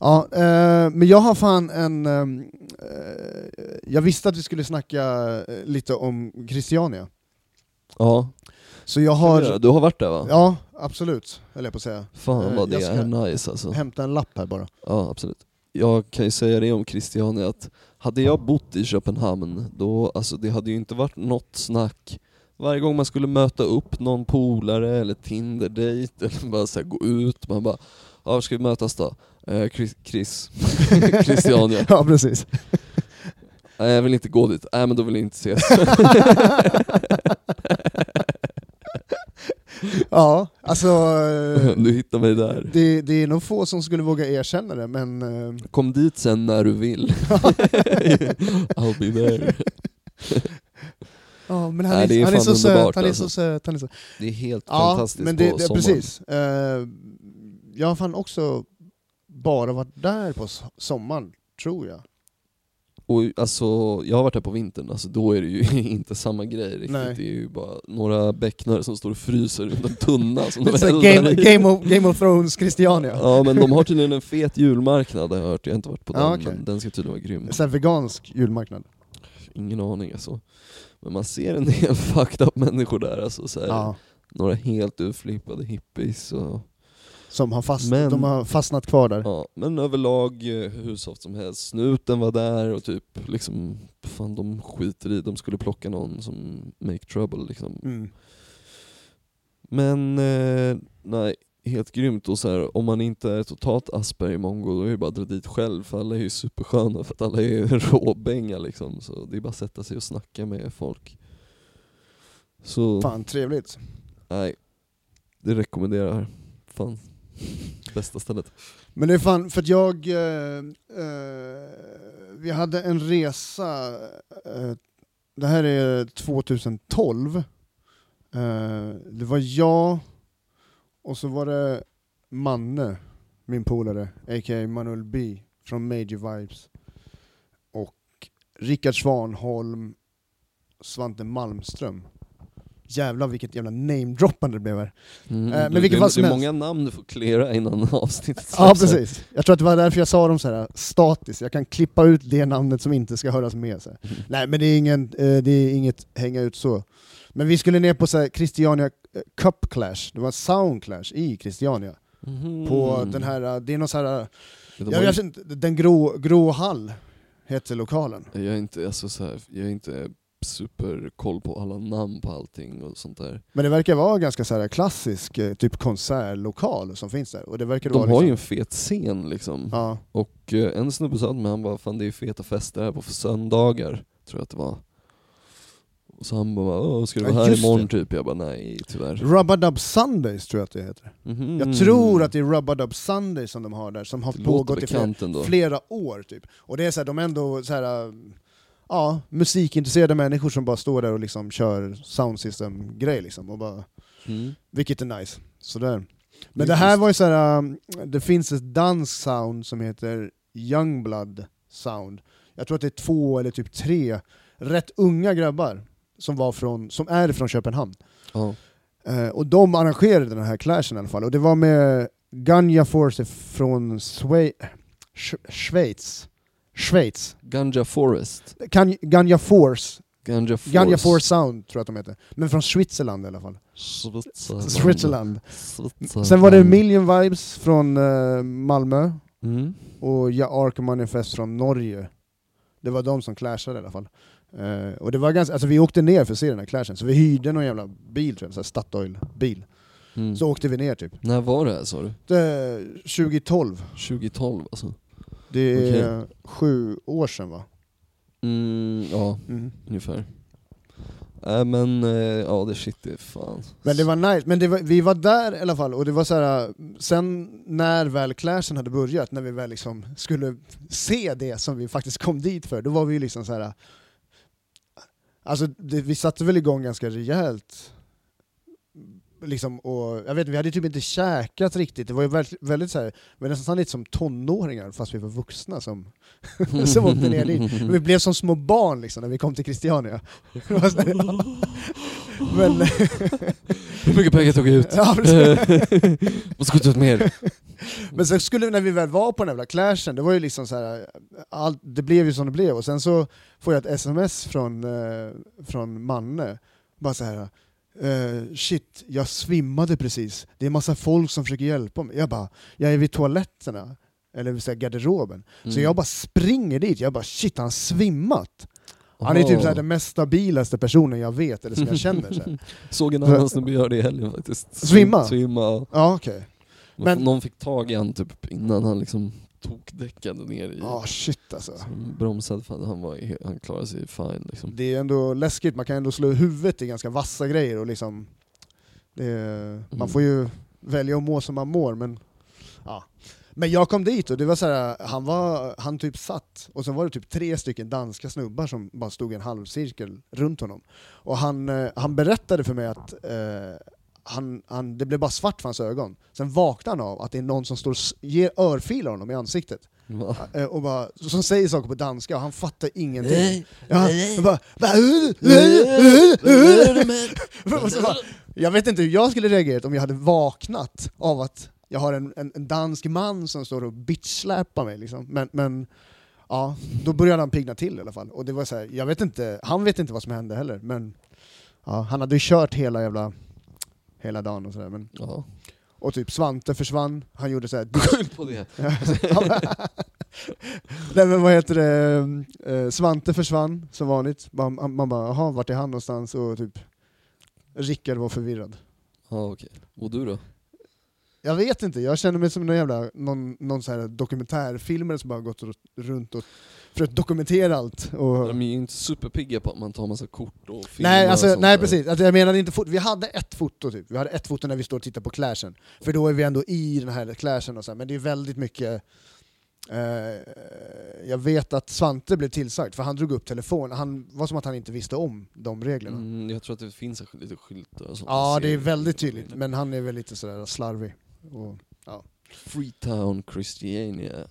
[SPEAKER 1] Ja, eh, men jag har fan en... ehm, Eh, jag visste att vi skulle snacka eh, lite om Christiania.
[SPEAKER 2] Ja,
[SPEAKER 1] Så jag
[SPEAKER 2] har...
[SPEAKER 1] har...
[SPEAKER 2] du har varit där va?
[SPEAKER 1] Ja, absolut, höll jag på att säga.
[SPEAKER 2] Fan vad
[SPEAKER 1] Eh,
[SPEAKER 2] det
[SPEAKER 1] jag
[SPEAKER 2] är nice alltså.
[SPEAKER 1] Hämta en lapp här bara.
[SPEAKER 2] Ja, absolut. Jag kan ju säga det om Christiania att hade jag bott i Köpenhamn då, alltså det hade ju inte varit något snack varje gång man skulle möta upp någon polare eller Tinder-dejt eller bara så här, gå ut, man bara ja, var ska vi mötas då? Eh, Chris, Chris. Christiania.
[SPEAKER 1] Ja, precis.
[SPEAKER 2] Nej jag vill inte gå dit. Nej men då vill jag inte ses.
[SPEAKER 1] ja, alltså... eh,
[SPEAKER 2] du hittar mig där.
[SPEAKER 1] Det, det är nog få som skulle våga erkänna det, men... eh,
[SPEAKER 2] Kom dit sen när du vill. I'll be there.
[SPEAKER 1] Ja, men han,
[SPEAKER 2] Nej, det
[SPEAKER 1] är,
[SPEAKER 2] är
[SPEAKER 1] han, är
[SPEAKER 2] fan
[SPEAKER 1] så söt,
[SPEAKER 2] underbart,
[SPEAKER 1] han är
[SPEAKER 2] alltså.
[SPEAKER 1] så söt, han är så
[SPEAKER 2] Det är helt
[SPEAKER 1] Ja,
[SPEAKER 2] fantastiskt
[SPEAKER 1] men
[SPEAKER 2] på
[SPEAKER 1] det, det,
[SPEAKER 2] sommaren.
[SPEAKER 1] precis. Eh, jag har fan också bara varit där på so- sommaren, tror jag.
[SPEAKER 2] Och alltså, jag har varit här på vintern, alltså, då är det ju inte samma grej riktigt.
[SPEAKER 1] Nej.
[SPEAKER 2] Det är ju bara några bäcknar som står och fryser runt en tunna som de
[SPEAKER 1] Så här,
[SPEAKER 2] eldar
[SPEAKER 1] Game,
[SPEAKER 2] i.
[SPEAKER 1] Game, of, Game of Thrones Christiania.
[SPEAKER 2] Ja men de har tydligen en fet julmarknad har jag hört, jag har inte varit på den
[SPEAKER 1] Ja, okej.
[SPEAKER 2] men den ska tydligen vara grym.
[SPEAKER 1] Så här vegansk julmarknad.
[SPEAKER 2] Ingen aning alltså. Men man ser en del fucked up människor där alltså. Så här,
[SPEAKER 1] Ja,
[SPEAKER 2] Några helt utflippade hippies och
[SPEAKER 1] som har, fast,
[SPEAKER 2] Men-
[SPEAKER 1] de har fastnat kvar där.
[SPEAKER 2] Ja, men överlag eh, hur soft som helst. Snuten var där och typ liksom, fan de skiter i, de skulle plocka någon som make trouble liksom.
[SPEAKER 1] Mm.
[SPEAKER 2] Men eh, nej, helt grymt. Och så här, om man inte är totalt asperger mongo då är det bara att dra dit själv för alla är ju supersköna för att alla är råbänga liksom. Så det är bara att sätta sig och snacka med folk. Så
[SPEAKER 1] Fan, trevligt.
[SPEAKER 2] nej, det rekommenderar jag. Fan, bästa stället.
[SPEAKER 1] Men det är fan, för att jag... Eh, eh, vi hade en resa, eh, det här är 2012. Eh, det var jag, och så var det Manne, min polare, a.k.a. Manuel B från Major Vibes. Och Rickard Svanholm, Svante Malmström. Jävlar vilket jävla namedroppande det blev här. Eh,
[SPEAKER 2] Mm,
[SPEAKER 1] men
[SPEAKER 2] det-
[SPEAKER 1] vilket
[SPEAKER 2] det,
[SPEAKER 1] fall som
[SPEAKER 2] det är
[SPEAKER 1] helst.
[SPEAKER 2] många namn du får klera innan avsnittet släpps
[SPEAKER 1] Ja
[SPEAKER 2] Typ här.
[SPEAKER 1] precis, jag tror att det var därför jag sa dem så här statiskt, jag kan klippa ut det namnet som inte ska höras med. Så här. Nej men det är, ingen, eh, det är inget hänga ut så. Men vi skulle ner på så här, Christiania eh, Cup Clash, det var Sound Clash i Christiania.
[SPEAKER 2] Mhm.
[SPEAKER 1] På den här, eh, det är någon så här, eh,
[SPEAKER 2] De har
[SPEAKER 1] jag,
[SPEAKER 2] ju-
[SPEAKER 1] jag, känner inte- den grå, grå hall heter lokalen.
[SPEAKER 2] jag, är inte, alltså, så här, jag är inte superkoll på alla namn på allting och sånt där.
[SPEAKER 1] Men det verkar vara ganska så här klassisk eh, typ konsertlokal som finns där. Och det verkar
[SPEAKER 2] De har
[SPEAKER 1] vara
[SPEAKER 2] ju en fet scen liksom.
[SPEAKER 1] Ja,
[SPEAKER 2] Och eh, en snubbe sa till mig, han bara, fan det är ju feta fester här på söndagar. tror jag att det var. Och så han bara Åh, ska du
[SPEAKER 1] Ja,
[SPEAKER 2] vara här
[SPEAKER 1] just
[SPEAKER 2] imorgon typ? Jag bara nej tyvärr.
[SPEAKER 1] Rub-a-Dub Sundays tror jag att det heter.
[SPEAKER 2] Mhm.
[SPEAKER 1] Jag tror att det är Rub-a-Dub Sundays som de har där, som har
[SPEAKER 2] Det låter
[SPEAKER 1] pågått i flera
[SPEAKER 2] bekant ändå.
[SPEAKER 1] flera år typ. Och det är så här, de är ändå så här, äh, ja, musikintresserade människor som bara står där och liksom kör soundsystem-grej liksom. Och bara,
[SPEAKER 2] Mm.
[SPEAKER 1] vilket är nice. Sådär.
[SPEAKER 2] Det är
[SPEAKER 1] Men det här
[SPEAKER 2] schysst.
[SPEAKER 1] var ju så här, äh, det finns ett dansk sound som heter Youngblood sound. Jag tror att det är två eller typ tre rätt unga grabbar som, var från, som är från Köpenhamn.
[SPEAKER 2] Ja.
[SPEAKER 1] Eh, och de arrangerade den här clashen i alla fall, och det var med Ganja Force från Swe- Sch- Schweiz. Schweiz.
[SPEAKER 2] Ganja Forest.
[SPEAKER 1] Kan- Ganja Force.
[SPEAKER 2] Ganja Force.
[SPEAKER 1] Ganja Force Sound tror jag att de heter. Men från Switzerland i alla fall.
[SPEAKER 2] Switzerland.
[SPEAKER 1] Switzerland.
[SPEAKER 2] Switzerland.
[SPEAKER 1] Sen var det Million Vibes från eh, Malmö
[SPEAKER 2] Mm.
[SPEAKER 1] och Ja Ark Manifest från Norge. Det var de som clashade i alla fall. Eh, och det var ganska, alltså vi åkte ner för att se den här clashen, så vi hyrde någon jävla bil tror jag, så här Statoil-bil.
[SPEAKER 2] Mm.
[SPEAKER 1] Så åkte vi ner typ.
[SPEAKER 2] När var det här sa du?
[SPEAKER 1] Eh, 2012.
[SPEAKER 2] 2012 alltså?
[SPEAKER 1] Det är sju år sedan va?
[SPEAKER 2] Mm, ja, ungefär. Äh, men eh, ja, det shit det är fan.
[SPEAKER 1] Men det var nice, men det var, vi var där i alla fall och det var så här. sen när väl clashen hade börjat, när vi väl liksom skulle se det som vi faktiskt kom dit för, då var vi ju liksom så här. Alltså det, vi satte väl igång ganska rejält. Liksom, och, jag vet vi hade typ inte käkat riktigt, det var ju väldigt, väldigt så här, vi var nästan lite som tonåringar fast vi var vuxna som som åkte ner dit. Vi blev som små barn liksom, när vi kom till Christiania. Det var så här, ja. Men,
[SPEAKER 2] Hur mycket pengar tog jag ut?
[SPEAKER 1] ja, precis.
[SPEAKER 2] Måste skjuta ut mer.
[SPEAKER 1] men sen skulle vi, när vi väl var på den jävla clashen, det var ju liksom så här, allt, det blev ju som det blev. Och sen så får jag ett sms från, eh, från Manne, bara så här. eh, shit, jag svimmade precis. Det är massa folk som försöker hjälpa mig. Jag bara, jag är vid toaletterna, eller vid så här garderoben. Så
[SPEAKER 2] Mm.
[SPEAKER 1] jag bara springer dit, jag bara shit, han har svimmat.
[SPEAKER 2] Mm.
[SPEAKER 1] Han är typ så här den mest stabilaste personen jag vet, eller som jag känner. Så här.
[SPEAKER 2] Såg en annan snubbe göra det i helgen faktiskt.
[SPEAKER 1] Svimma?
[SPEAKER 2] Svimma, ja.
[SPEAKER 1] Ja, okej.
[SPEAKER 2] Men...
[SPEAKER 1] Men-
[SPEAKER 2] Någon fick tag i han typ innan han liksom tokdäckade ner i...
[SPEAKER 1] Ja, shit alltså.
[SPEAKER 2] Som bromsade för att han, var, i- han klarade sig fine liksom.
[SPEAKER 1] Det är ändå läskigt, man kan ändå slå huvudet i ganska vassa grejer och liksom... Det är,
[SPEAKER 2] Mm.
[SPEAKER 1] man får ju välja att må som man mår, men... Ja. Men jag kom dit och det var så här, han, var, han typ satt, och sen var det typ tre stycken danska snubbar som bara stod i en halvcirkel runt honom. Och han, eh, han berättade för mig att eh, han, han, det blev bara svart för hans ögon. Sen vaknade han av att det är någon som står, och s- ger örfilar honom i ansiktet.
[SPEAKER 2] Va?
[SPEAKER 1] Eh, och bara, som säger saker på danska och han fattar ingenting.
[SPEAKER 2] Nej.
[SPEAKER 1] Ja,
[SPEAKER 2] Nej.
[SPEAKER 1] han bara, bara, "Uh, uh, uh, uh, uh." Och så bara, jag vet inte hur jag skulle reagerat om jag hade vaknat av att jag har en, en, en dansk man som står och bitchsläpar mig. Liksom. Men, men ja, då började han pigna till i alla fall. Och det var så här, jag vet inte, han vet inte vad som hände heller. Men ja, han hade ju kört hela jävla hela dagen och sådär. men-
[SPEAKER 2] Ja.
[SPEAKER 1] Och typ Svante försvann, han gjorde såhär
[SPEAKER 2] Skyll på det.
[SPEAKER 1] Nej men vad heter det, Eh, Svante försvann som vanligt. Man, man bara, jaha, vart är han någonstans? Och typ, Rickard var förvirrad.
[SPEAKER 2] Ja okej. Och du då?
[SPEAKER 1] Jag vet inte, jag känner mig som någon jävla, någon, någon så här dokumentärfilmare som bara gått r- runt och försökt dokumentera allt. Och...
[SPEAKER 2] De är ju inte superpigga på att man tar massa kort och filmar
[SPEAKER 1] Nej, alltså,
[SPEAKER 2] och
[SPEAKER 1] nej precis, alltså, jag menade inte fot- vi hade ett foto typ, vi hade ett foto när vi står och tittar på clashen. För då är vi ändå i den här clashen och så här. men det är väldigt mycket eh, jag vet att Svante blev tillsagd, för han drog upp telefonen. Han var som att han inte visste om de reglerna.
[SPEAKER 2] Mm, jag tror att det finns en skyl- lite skyltar och sånt.
[SPEAKER 1] Ja,
[SPEAKER 2] Jag
[SPEAKER 1] det
[SPEAKER 2] ser Mm.
[SPEAKER 1] är väldigt tydligt,
[SPEAKER 2] lite.
[SPEAKER 1] men han är väl lite sådär slarvig. Och...
[SPEAKER 2] Freetown Christiania.
[SPEAKER 1] Eh,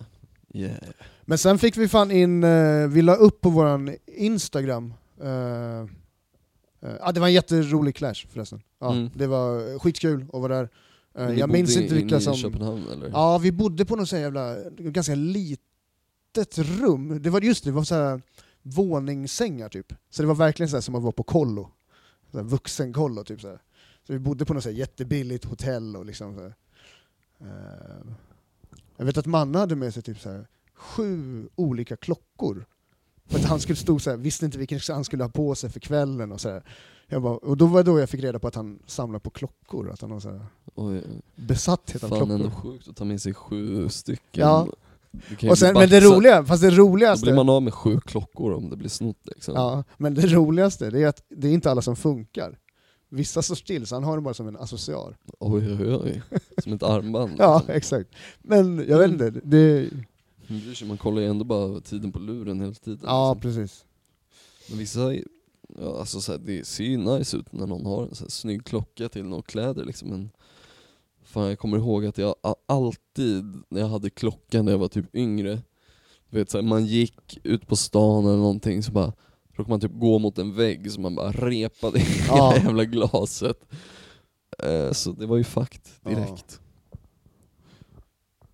[SPEAKER 2] Yeah.
[SPEAKER 1] Men sen fick vi fan in, eh, vi la upp på våran Instagram, eh, eh, ah, det var en jätterolig clash förresten. Ja,
[SPEAKER 2] Mm.
[SPEAKER 1] Det var skitkul att vara där. Eh,
[SPEAKER 2] Ni
[SPEAKER 1] jag minns
[SPEAKER 2] bodde
[SPEAKER 1] inte
[SPEAKER 2] inne
[SPEAKER 1] vilka
[SPEAKER 2] i
[SPEAKER 1] som...
[SPEAKER 2] Köpenhamn eller?
[SPEAKER 1] Ja, vi bodde på något så här jävla, ganska litet rum. Det var just det, det var så här våningssängar typ. Så det var verkligen så här som att vara på kollo. Så här vuxenkollo typ så här. Så vi bodde på något så här jättebilligt hotell och liksom så här. Eh, Jag vet att Manna hade med sig typ så här sju olika klockor. För att han skulle stå så här, visste inte vilken han skulle ha på sig för kvällen och så här. Jag bara, och då var det då jag fick reda på att han samlar på klockor, att han har så här
[SPEAKER 2] Oj,
[SPEAKER 1] besatthet av
[SPEAKER 2] fan
[SPEAKER 1] klockor.
[SPEAKER 2] ändå sjukt att ta med sig sju stycken.
[SPEAKER 1] Ja.
[SPEAKER 2] Du kan ju
[SPEAKER 1] Och
[SPEAKER 2] bli
[SPEAKER 1] sen, men det
[SPEAKER 2] baxad.
[SPEAKER 1] roliga, fast det
[SPEAKER 2] Då blir
[SPEAKER 1] roligaste,
[SPEAKER 2] man av med sju klockor om det blir snott liksom.
[SPEAKER 1] ja, men det roligaste det är att det är inte alla som funkar. Vissa står still, så han har det bara som en accessoar.
[SPEAKER 2] Oj, oj, oj. Som ett armband.
[SPEAKER 1] Ja,
[SPEAKER 2] liksom.
[SPEAKER 1] exakt. Men jag vet inte, det...
[SPEAKER 2] Man bryr sig, man kollar ju ändå bara tiden på luren hela tiden.
[SPEAKER 1] Ja,
[SPEAKER 2] liksom.
[SPEAKER 1] precis.
[SPEAKER 2] Men vissa, är- ja, alltså så här, det ser ju nice ut när någon har en så här, snygg klocka till några kläder liksom. Men fan jag kommer ihåg att jag a- alltid, när jag hade klocka när jag var typ yngre, du vet så här, man gick ut på stan eller någonting så bara råkade man typ gå mot en vägg så man bara repade i hela
[SPEAKER 1] Ja.
[SPEAKER 2] jävla glaset. Eh, Så det var ju fakt direkt.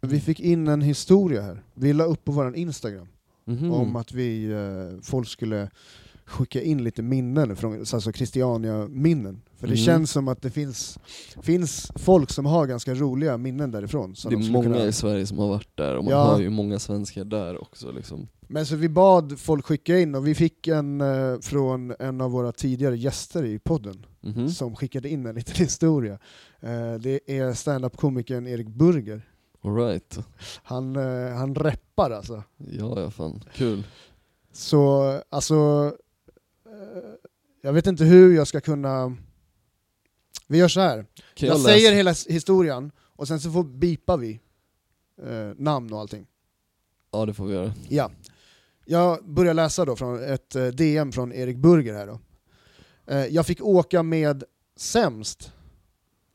[SPEAKER 1] Vi fick in en historia här. Vi la upp på vår Instagram.
[SPEAKER 2] Mhm.
[SPEAKER 1] om att vi, eh, folk skulle skicka in lite minnen, från, alltså Christiania-minnen. För det
[SPEAKER 2] Mm.
[SPEAKER 1] känns som att det finns, finns folk som har ganska roliga minnen därifrån. Som
[SPEAKER 2] det
[SPEAKER 1] de
[SPEAKER 2] är
[SPEAKER 1] skulle
[SPEAKER 2] många
[SPEAKER 1] kunna-
[SPEAKER 2] i Sverige som har varit där och man
[SPEAKER 1] Ja.
[SPEAKER 2] har ju många svenskar där också liksom.
[SPEAKER 1] Men så vi bad folk skicka in, och vi fick en eh, från en av våra tidigare gäster i podden,
[SPEAKER 2] Mhm.
[SPEAKER 1] som skickade in en liten historia. Eh, det är standup-komikern Erik Burger.
[SPEAKER 2] All right.
[SPEAKER 1] Han, eh, han reppar alltså.
[SPEAKER 2] Ja, ja fan. Kul.
[SPEAKER 1] Så alltså, eh, jag vet inte hur jag ska kunna... Vi gör så här.
[SPEAKER 2] Kan
[SPEAKER 1] jag
[SPEAKER 2] läsa-
[SPEAKER 1] säger hela s- historien, och sen så får bipar vi eh, namn och allting.
[SPEAKER 2] Ja, det får vi göra.
[SPEAKER 1] Ja. Jag börjar läsa då från ett eh, DM från Erik Burger här då. Eh, jag fick åka med sämst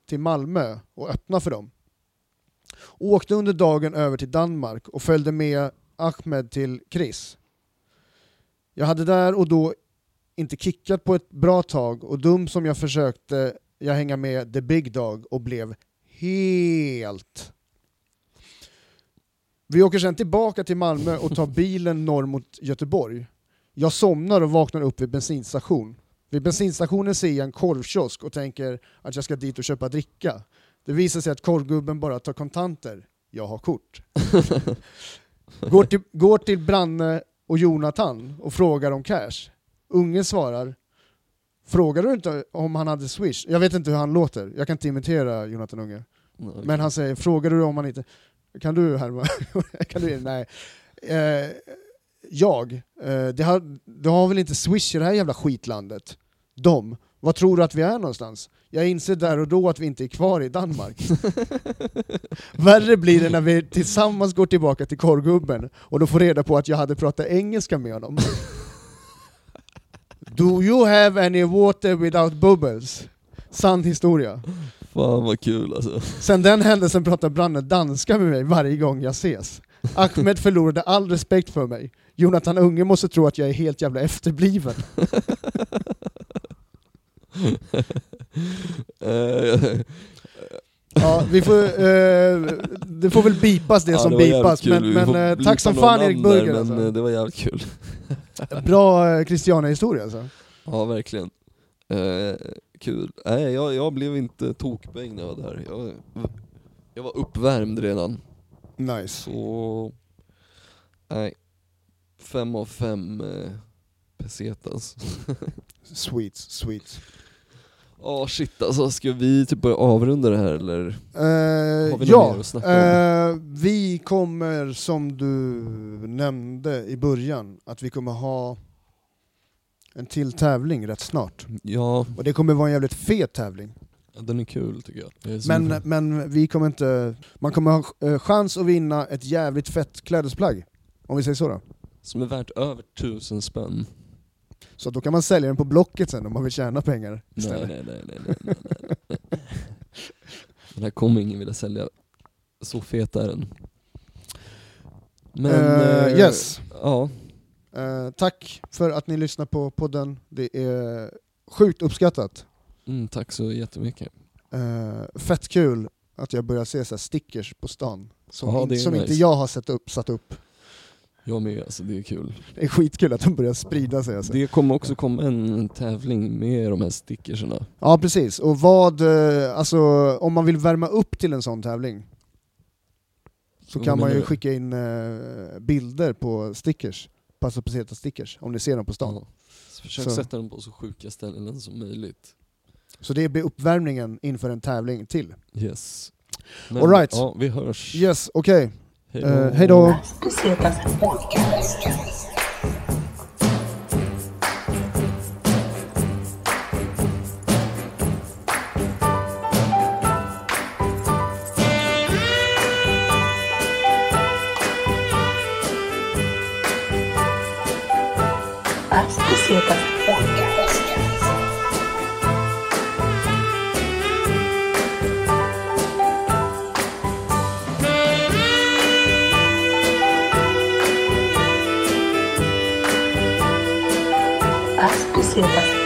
[SPEAKER 1] till Malmö och öppna för dem. Åkte under dagen över till Danmark och följde med Ahmed till Chris. Jag hade där och då inte kickat på ett bra tag och dum som jag försökte jag hänga med the big dog och blev helt vi åker sen tillbaka till Malmö och tar bilen norr mot Göteborg. Jag somnar och vaknar upp vid bensinstation. Vid bensinstationen ser jag en korvkiosk och tänker att jag ska dit och köpa dricka. Det visar sig att korvgubben bara tar kontanter. Jag har kort. Går till, går till Branne och Jonathan och frågar om cash. Ungen svarar Frågar du inte om han hade swish? Jag vet inte hur han låter, jag kan inte imitera Jonathan Unge.
[SPEAKER 2] Nej, okej.
[SPEAKER 1] Men han säger, frågar du om han inte... Kan du härma? kan du, nej. Eh, jag, eh, det har, det har väl inte swish i det här jävla skitlandet? De, vad tror du att vi är någonstans? Jag inser där och då att vi inte är kvar i Danmark. Värre blir det när vi tillsammans går tillbaka till korvgubben och då får reda på att jag hade pratat engelska med honom. Do you have any water without bubbles? Sann historia.
[SPEAKER 2] Fan vad kul alltså.
[SPEAKER 1] Sen den händelsen pratar Branne danska med mig varje gång jag ses. Ahmed förlorade all respekt för mig. Jonathan Unge måste tro att jag är helt jävla efterbliven.
[SPEAKER 2] Eh,
[SPEAKER 1] Ja, vi får, eh, det får väl bipas det
[SPEAKER 2] ja,
[SPEAKER 1] som
[SPEAKER 2] var jävligt
[SPEAKER 1] bipas,
[SPEAKER 2] kul.
[SPEAKER 1] men,
[SPEAKER 2] Vi
[SPEAKER 1] men
[SPEAKER 2] får
[SPEAKER 1] eh,
[SPEAKER 2] blipa
[SPEAKER 1] tack som
[SPEAKER 2] några
[SPEAKER 1] fan Erik
[SPEAKER 2] namn där,
[SPEAKER 1] Burger
[SPEAKER 2] Men eh,
[SPEAKER 1] alltså.
[SPEAKER 2] det var jävligt kul.
[SPEAKER 1] Bra eh, Christiania-historia alltså.
[SPEAKER 2] Ja, verkligen. Eh, kul. Nej, jag, jag blev inte tokbäng när jag var där. Jag, jag var uppvärmd redan.
[SPEAKER 1] Nice.
[SPEAKER 2] Så... Nej. Fem av fem eh, pesetas.
[SPEAKER 1] Sweet, sweet.
[SPEAKER 2] Ja shit alltså, ska vi typ börja avrunda det här eller?
[SPEAKER 1] Eh,
[SPEAKER 2] vi något
[SPEAKER 1] ja,
[SPEAKER 2] mer att snacka
[SPEAKER 1] eh, vi kommer som du nämnde i början, att vi kommer ha en till tävling rätt snart.
[SPEAKER 2] Ja,
[SPEAKER 1] Och det kommer vara en jävligt fet tävling.
[SPEAKER 2] den är kul tycker jag. jag är så-
[SPEAKER 1] Men, men vi kommer inte... Man kommer ha eh, chans att vinna ett jävligt fett klädesplagg. Om vi säger så då.
[SPEAKER 2] Som är värt över tusen spänn.
[SPEAKER 1] Så då kan man sälja den på Blocket sen om man vill tjäna pengar
[SPEAKER 2] Nej,
[SPEAKER 1] istället.
[SPEAKER 2] nej, nej, nej, nej, nej, nej, nej. Den här kommer ingen vilja sälja. Så fet är den. Men...
[SPEAKER 1] Eh,
[SPEAKER 2] eh,
[SPEAKER 1] yes.
[SPEAKER 2] Ja,
[SPEAKER 1] Eh, tack för att ni lyssnar på podden. Det är sjukt uppskattat.
[SPEAKER 2] mm, tack så jättemycket.
[SPEAKER 1] Eh, fett kul att jag börjar se så här stickers på stan. Som,
[SPEAKER 2] Ja, det är
[SPEAKER 1] som inte
[SPEAKER 2] nice.
[SPEAKER 1] jag har sett upp, satt upp.
[SPEAKER 2] Jag med, alltså det är kul.
[SPEAKER 1] Det är skitkul att de börjar sprida sig. Alltså.
[SPEAKER 2] Det kommer också komma en tävling med de här stickerserna.
[SPEAKER 1] Ja precis, och vad, eh, alltså om man vill värma upp till en sån tävling så
[SPEAKER 2] Vad
[SPEAKER 1] kan man
[SPEAKER 2] menar
[SPEAKER 1] ju
[SPEAKER 2] du?
[SPEAKER 1] skicka in eh, bilder på stickers, passa på stickers om ni ser dem på stan.
[SPEAKER 2] Ja. Så Försök
[SPEAKER 1] Så.
[SPEAKER 2] sätta dem på så sjuka ställen som möjligt.
[SPEAKER 1] Så det blir uppvärmningen inför en tävling till.
[SPEAKER 2] Yes.
[SPEAKER 1] All right.
[SPEAKER 2] Ja, vi hörs.
[SPEAKER 1] Yes, okej.
[SPEAKER 2] Hej
[SPEAKER 1] Eh, hej då!
[SPEAKER 3] Bastardos Podcast. Bastardos Podcast. Bastardos Podcast.